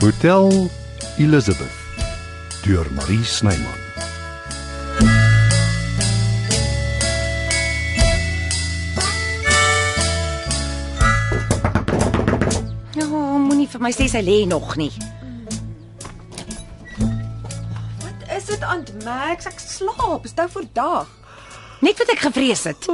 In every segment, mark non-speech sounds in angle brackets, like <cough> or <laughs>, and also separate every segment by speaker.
Speaker 1: Hotel Elizabeth deur Marie Snyman.
Speaker 2: Ja, moenie vir my sê sy lê nog nie.
Speaker 3: Wat is dit aan Max? Ek slaap. Dis nou vir dag.
Speaker 2: Net wat ek gevrees het.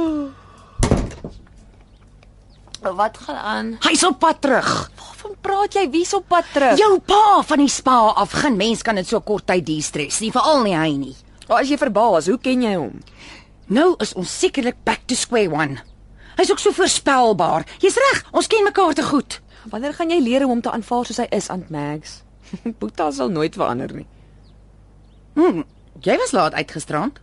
Speaker 3: Wat gaan aan?
Speaker 2: Hy's op pad terug.
Speaker 3: Waarvan praat jy? Wie's op pad terug?
Speaker 2: Jou pa van die spa af, geen mens kan dit so kort tyd de-stres nie, veral nie hy nie.
Speaker 3: Ja, as jy verbaas, hoe ken jy hom?
Speaker 2: Nou is ons sekerlik back to square one. Hy's ook so voorspelbaar. Jy's reg, ons ken mekaar te goed.
Speaker 3: Wanneer gaan jy leer om hom te aanvaar soos hy is aan Max? <laughs> Boeta sal nooit verander nie.
Speaker 2: Hmm, Jy was laat uitgisterand.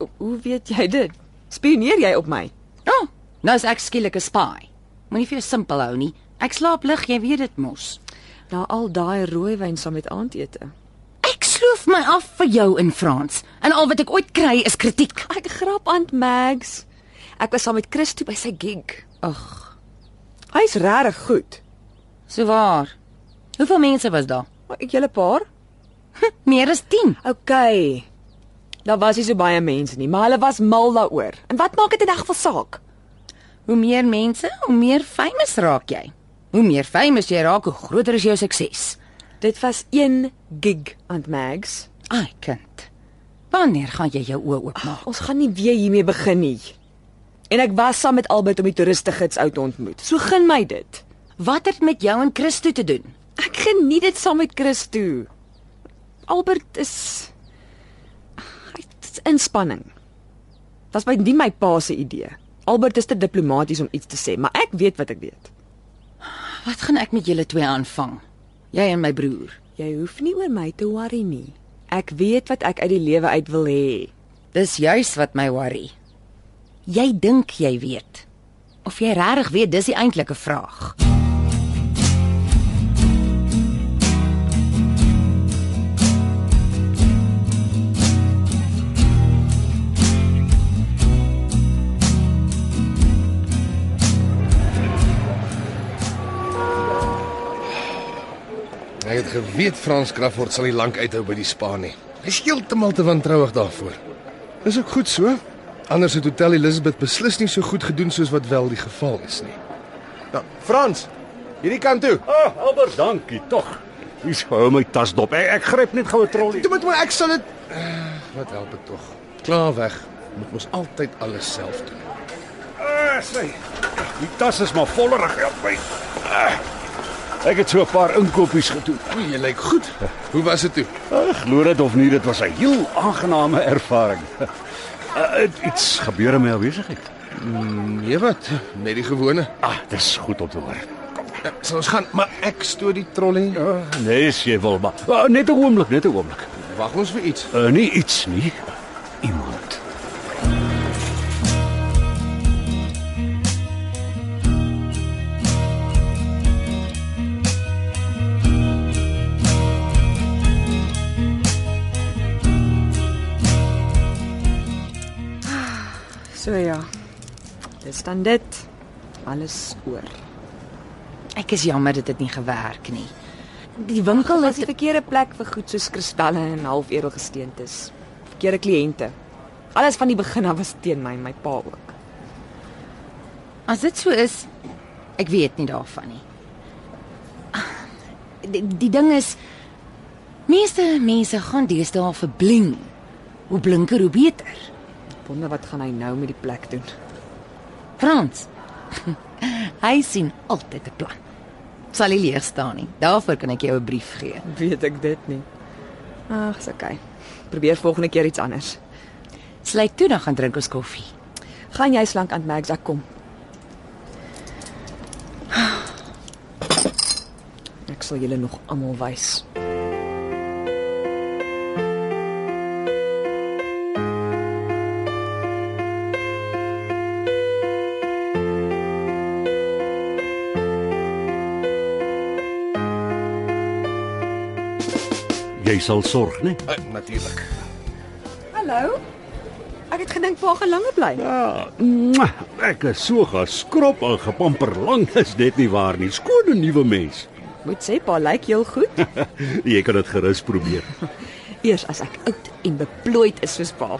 Speaker 3: O, hoe weet jy dit? Spioneer jy op my?
Speaker 2: Ja, oh, nou is ek skielik 'n spy. Moenie vir jou simpel hou nie. Ek slaap lig, jy weet dit mos.
Speaker 3: Na al daai rooiwyn saam met aandete.
Speaker 2: Ek sloof my af vir jou in Frans en al wat ek ooit kry is kritiek.
Speaker 3: Ek grap aan Max. Ek was saam met Christo by sy gig. Ag. Hy's regtig goed.
Speaker 2: So waar. Hoeveel mense was daar?
Speaker 3: Maar ek julle paar?
Speaker 2: Meer as 10.
Speaker 3: OK. Daar was nie so baie mense nie, maar hulle was mal daaroor. En wat maak dit in 'n geval saak?
Speaker 2: Hoe meer mense, hoe meer famous raak jy. Hoe meer famous jy raak, hoe groter is jou sukses.
Speaker 3: Dit was 1 gig aan Mags.
Speaker 2: Ai kind. Wanneer gaan jy jou oë oopmaak?
Speaker 3: Ons gaan nie weer hiermee begin nie. En ek was saam met Albert om die toeriste gids ou te ontmoet. So gun my dit.
Speaker 2: Wat het met jou en Christo te doen?
Speaker 3: Ek geniet dit saam met Christo. Albert is hy's inspanning. Was by nie my pa se idee. Albert is te diplomaties om iets te sê, maar ek weet wat ek weet.
Speaker 2: Wat gaan ek met julle twee aanvang? Jy en my broer.
Speaker 3: Jy hoef nie oor my te worry nie. Ek weet wat ek uit die lewe uit wil hê.
Speaker 2: Dis juis wat my worry. Jy dink jy weet. Of jy regtig weet, dis die eintlike vraag.
Speaker 4: Ek het geweet Frans Kraftwoord sal nie lank uithou by die spa nie. Hy is heeltemal te wantrouig daarvoor. Dis ook goed so. Anders het Hotel Elizabeth beslis nie so goed gedoen soos wat wel die geval is nie. Nou, Frans, hierdie kant toe.
Speaker 5: Ah, oh, Albert, dankie tog. Hier hou my tas dop. Ek, ek gryp net goue trollie.
Speaker 4: Toe moet maar ek sal dit Eh, Wat help dit tog? Klaar weg. Moet mos altyd alles self doen.
Speaker 5: Ah, sê. Die tas is maar vollerig help my. Ah, ek het so 'n paar inkopies gedoen.
Speaker 4: O, jy lyk goed. Hoe was dit toe?
Speaker 5: Ag, glo dit of nie, dit was 'n heel aangename ervaring. <laughs> Ah, het iets gebeur in my afwesigheid.
Speaker 4: Nee wat, net die gewone.
Speaker 5: Ah, dis goed om te hoor.
Speaker 4: Ja, sal ons gaan, maar ek stoor die trollie.
Speaker 5: Ah, nee, as jy wil maar. Ah, net 'n oomblik, net 'n oomblik.
Speaker 4: Wag ons vir iets.
Speaker 5: Uh, nie iets nie. Iemand.
Speaker 3: So ja. Dis dan dit. Alles oor.
Speaker 2: Ek is jammer dit het nie gewerk nie. Die winkel
Speaker 3: Dit is
Speaker 2: het
Speaker 3: die verkeerde plek vir goed soos kristalle en half edelgesteentes. Verkeerde kliënte. Alles van die begin af was teen my, en my pa ook.
Speaker 2: As dit so is, ek weet nie daarvan nie. Ah, Die, die ding is meeste mense gaan deesdae vir bling. Hoe blinker hoe beter.
Speaker 3: Wonder wat gaan hy nou met die plek doen? <laughs>
Speaker 2: Frans. <laughs> Hy sien altyd 'n plan. Sal nie leeg staan nie. Daarvoor kan ek jou 'n brief gee.
Speaker 3: Weet ek dit nie. Ag, dis okay. Probeer volgende keer iets anders.
Speaker 2: Sluit toe dan gaan drink ons koffie.
Speaker 3: Gaan jy slank aan Mags ek kom. Ek sal julle nog almal wys.
Speaker 5: Jy sal sorg, nee? né?
Speaker 4: Uh, Natuurlik.
Speaker 3: Hallo. Ek het gedink pa gaan langer bly.
Speaker 6: Ah,
Speaker 5: Ja, mwah, ek is so geskrop en gepamper lank is dit nie waar nie. Skone nuwe mens.
Speaker 3: moet sê pa lyk heel goed.
Speaker 6: Jy kan dit gerus
Speaker 5: <laughs>
Speaker 6: probeer.
Speaker 3: Eers as ek oud en beplooid is soos <laughs> pa.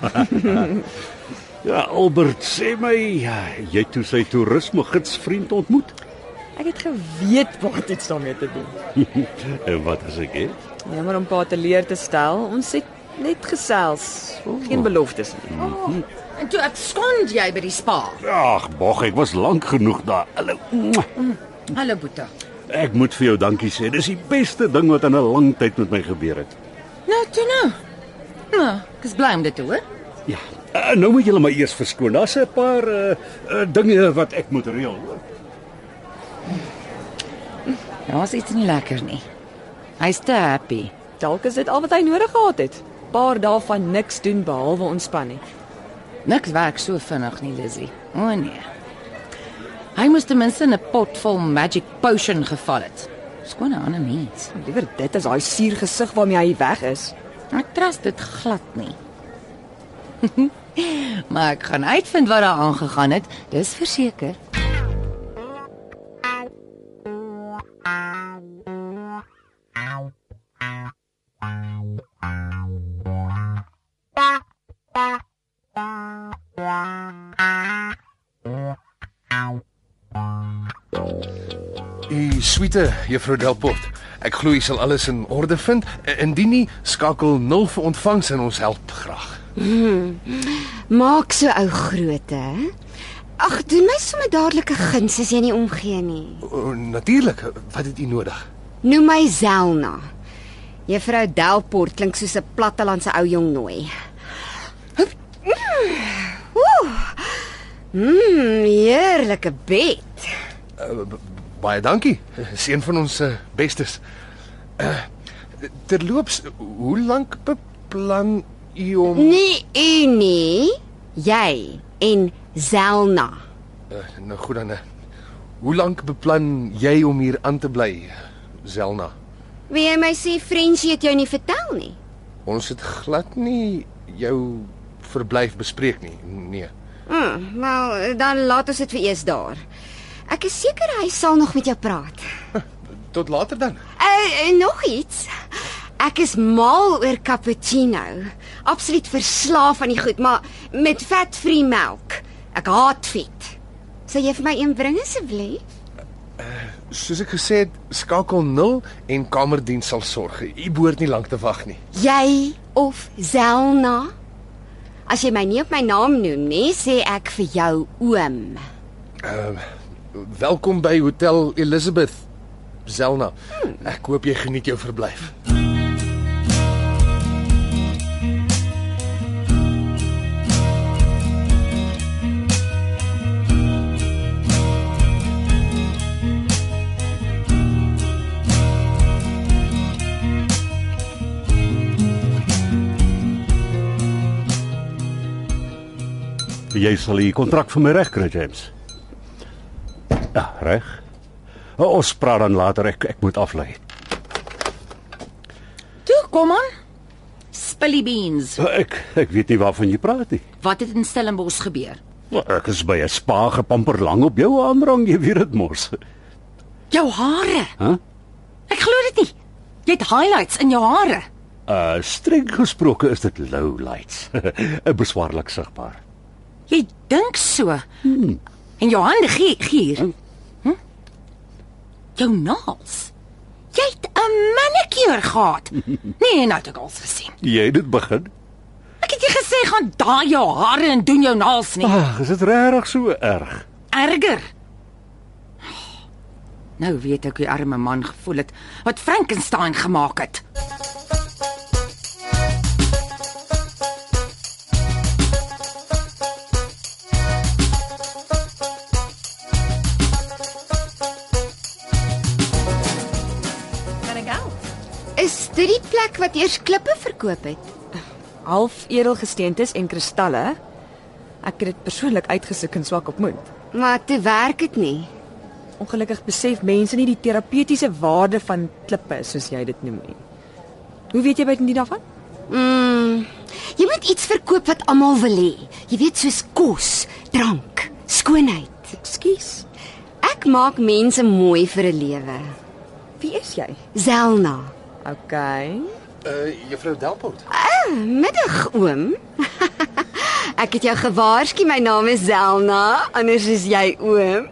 Speaker 6: Ja, Albert, sê my, ja, jy het toe sy toerisme gidsvriend ontmoet? <laughs>
Speaker 3: Ek het geweet pa het iets daarmee te doen.
Speaker 6: En wat as ek het?
Speaker 3: Jammer om pa te leer te stel. Ons het net gesels. Geen beloftes nie.
Speaker 2: En toe ek skond jy by die spa.
Speaker 6: Ag, bog, ek was lank genoeg daar. Hallo. Mwah.
Speaker 2: Hallo Boeta.
Speaker 6: Ek moet vir jou dankie sê. Dis die beste ding wat in 'n lang tyd met my gebeur het.
Speaker 2: Nou toe nou. Nou, ek is bly om dit te hoor.
Speaker 6: Ja. Uh, nou moet julle my eers verskoon. Daar's 'n paar uh, uh, dinge wat ek moet reël. hoor.
Speaker 2: Daar's iets nie lekker nie. Hy's te happy.
Speaker 3: Dalk is dit al wat hy nodig gehad het. Paar dae van niks doen behalwe ontspan nie.
Speaker 2: Niks werk so vinnig nie, Lizzy. O nee. Hy moes ten minste 'n pot vol magic potion geval het. Skone ander mens.
Speaker 3: Liewer dit as daai suur gesig waarmee hy weg is.
Speaker 2: Ek trust dit glad nie. <laughs> maar ek gaan uitvind wat daar aangegaan het, dis verseker.
Speaker 4: U suite, Juffrou Delport. Ek glo u sal alles in orde vind. I- Indien nie, skakel 0 vir ontvangs en ons help graag.
Speaker 7: Maak so ou grootte. hè? Ag, doen my sommer dadelik 'n guns as jy nie omgee nie.
Speaker 4: O, Natuurlik, wat het u nodig?
Speaker 7: Noem my Zelna. Juffrou Delport klink soos 'n plattelandse ou jong nooi. Ooh. Mmm, heerlike bed.
Speaker 4: Baie dankie. Dis een van ons eh, bestes. Uh, terloops, hoe lank beplan u om
Speaker 7: Nie u nie, jy en Zelna.
Speaker 4: uh, nou goed dan. eh, Hoe lank beplan jy om hier aan te bly, Zelna?
Speaker 7: Wie jy my sê Frenchie het jou nie vertel nie.
Speaker 4: Ons het glad nie jou verblyf bespreek nie. Nee.
Speaker 7: Mm, wel, dan laat ons dit vir eers daar. Ek is seker hy sal nog met jou praat.
Speaker 4: Tot later dan.
Speaker 7: Uh, uh, nog iets. Ek is mal oor cappuccino. Absoluut verslaaf aan die goed, maar met vet-free melk. Ek haat vet. Sal jy vir my een bring asseblief?
Speaker 4: Soos ek gesê het, skakel 0 en kamerdiens sal sorg. U behoort nie lank te wag nie.
Speaker 7: Jy of Zelna? As jy my nie op my naam noem nie, sê ek vir jou oom.
Speaker 4: Welkom by Hotel Elizabeth. Zelna. Ek hoop jy geniet jou verblyf.
Speaker 6: Jy sal die kontrak vir my regkry, James. Ja, reg. O, Ons praat dan later. Ek ek moet aflei.
Speaker 2: Toe, kom aan. Spilly beans.
Speaker 6: Eh, Ek ek weet nie waarvan jy praat nie.
Speaker 2: Wat het in Stellenbosch gebeur?
Speaker 6: Maar Ek is by 'n spa gepamper lang op jou aanrang, jy weet dit mos.
Speaker 2: Jou hare.
Speaker 6: Hæ? Huh?
Speaker 2: Ek glo dit nie. Jy het highlights in jou hare.
Speaker 6: Uh streng gesproke is dit low lights. <laughs> Beswaarlik sigbaar.
Speaker 2: Jy dink so. Hmm. En jou hande gee gier. Hm? Jou naels. Jy het 'n manicure <laughs> gehad. Nee, nou het ek al gesien.
Speaker 6: Jy het dit begin.
Speaker 2: Ek het jou gesê gaan daai jou hare en doen jou naels nie.
Speaker 6: Ag, is dit regtig so erg?
Speaker 2: erger. Nou weet ek hoe die arme man gevoel het wat Frankenstein gemaak het. Kan ek help?
Speaker 7: Is dit die plek wat eers klippe verkoop het?
Speaker 3: Half edelgesteentes en kristalle. Ek het dit persoonlik uitgesoek en swak op moed.
Speaker 7: Maar toe werk dit nie.
Speaker 3: Ongelukkig besef mense nie die terapeutiese waarde van klippe soos jy dit noem nie. Hoe weet jy bytendien daarvan?
Speaker 7: Mm, jy moet iets verkoop wat almal wil hê. Jy weet soos kos, drank, skoonheid.
Speaker 3: Ekskuus.
Speaker 7: Ek maak mense mooi vir 'n lewe.
Speaker 3: Wie is jy?
Speaker 7: Zelna.
Speaker 3: OK.
Speaker 4: Uh Juffrou Delport.
Speaker 7: Middag oom. <laughs> Ek het jou gewaarsku, my naam is Zelna, anders is jy oom.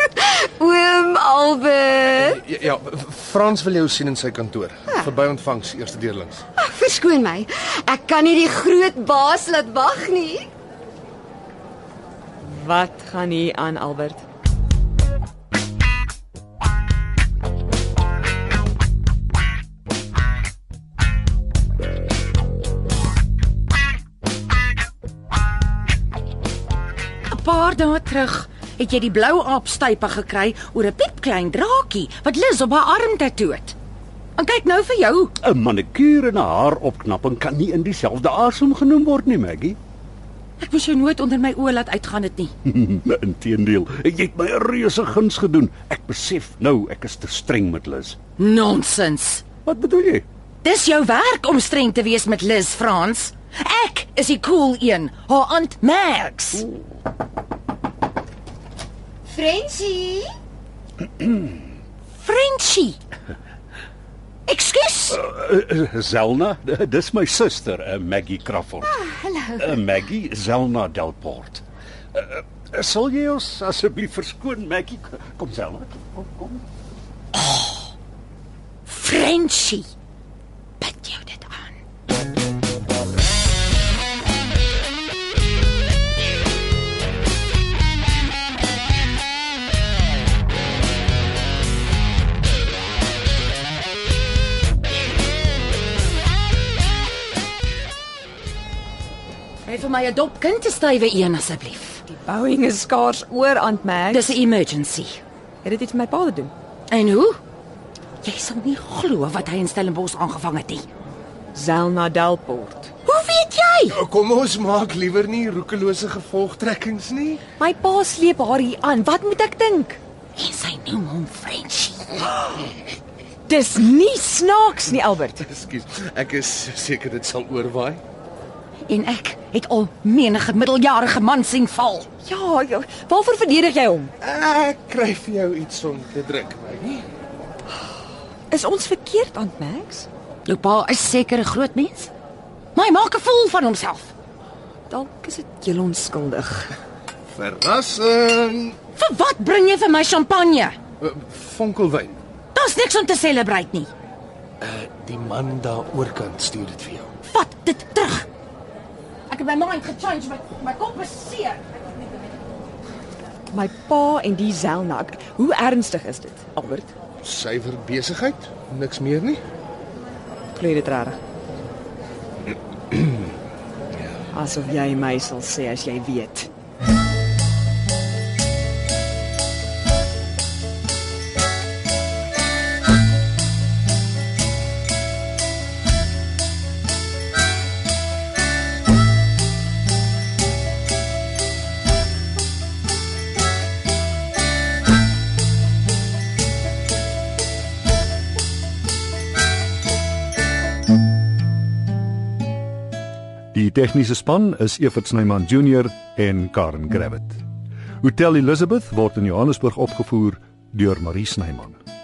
Speaker 7: <laughs> oom Albert.
Speaker 4: Ja, ja, Frans wil jou sien in sy kantoor. Verby ontvangs eerste deurlings.
Speaker 7: Ag, verskoon my. Ek kan nie die groot baas laat wag nie.
Speaker 3: Wat gaan hier aan Albert?
Speaker 2: Een paar dae terug het jy die blou aap stype gekry oor 'n piepklein draakie wat Liz op haar arm tatoe het. En kyk nou vir jou.
Speaker 6: 'n Manikure en 'n haaropknapping kan nie in dieselfde asem genoem word nie, Maggie.
Speaker 2: Ek moes jou nooit onder my oë laat uitgaan dit nie.
Speaker 6: <laughs> Inteendeel, jy het my 'n reuse guns gedoen. Ek besef nou ek is te streng met Liz.
Speaker 2: Nonsens.
Speaker 6: Wat bedoel jy?
Speaker 2: Dis jou werk om streng te wees met Liz Frans. Ek is die cool een, haar aunt Max.
Speaker 7: Frenchie,
Speaker 2: Frenchie. Ekskuus.
Speaker 6: Uh, Zelna, dis my suster, uh, Maggie Crawford.
Speaker 7: Ah.
Speaker 6: Hallo. Uh, Maggie Zelna Delport. Uh, uh, sal jy ons asseblief verskoon, Maggie? Kom Zelna. Kom, kom.
Speaker 2: Frenchie. Pat jou dit aan. Hy vir my 'n dop kind te stywe een asseblief.
Speaker 3: Die bouing is skaars oor aan Max.
Speaker 2: Dis 'n emergency.
Speaker 3: het dit iets met my pa te doen.
Speaker 2: En hoe? Jy sal nie glo wat hy in Stellenbosch aangevang het nie.
Speaker 3: Zelna Delport.
Speaker 2: Hoe weet jy?
Speaker 4: Kom ons maak liewer nie roekelose gevolgtrekkings nie.
Speaker 3: My pa sleep haar hier aan. Wat moet ek dink?
Speaker 2: En sy noem hom Frenchie.
Speaker 3: Dis nie snaaks nie, Albert.
Speaker 4: Ekskuus, ek is seker dit sal oorwaai.
Speaker 2: En ek het al menige middeljarige man sien val.
Speaker 3: Ja, ja. Waarvoor verdedig jy hom?
Speaker 4: Ek kry vir jou iets om te drink, Maggie.
Speaker 3: Is ons verkeerd aan Max?
Speaker 2: Jou pa is seker 'n groot mens. Maar hy maak 'n fool van homself.
Speaker 3: Dalk is dit heel onskuldig.
Speaker 4: Verrassing.
Speaker 2: Vir wat bring jy vir my champagne?
Speaker 4: Uh, Vonkelwyn.
Speaker 2: Daar's niks om te celebrate nie.
Speaker 4: Eh, Die man daar oorkant stuur dit vir jou.
Speaker 2: Vat dit terug. Ek het my mind gechange, my my kop is seer.
Speaker 3: My pa en die Zelna. ek- Hoe ernstig is dit, Albert?
Speaker 4: Suiwer besigheid, niks meer nie.
Speaker 3: Glo jy dit <clears throat> rarig? Ja. Asof jy my sal sê as jy weet.
Speaker 1: Die tegniese span is Evert Snyman Junior en Karen Gravett. Hotel Elizabeth word in Johannesburg opgevoer deur Marie Snyman.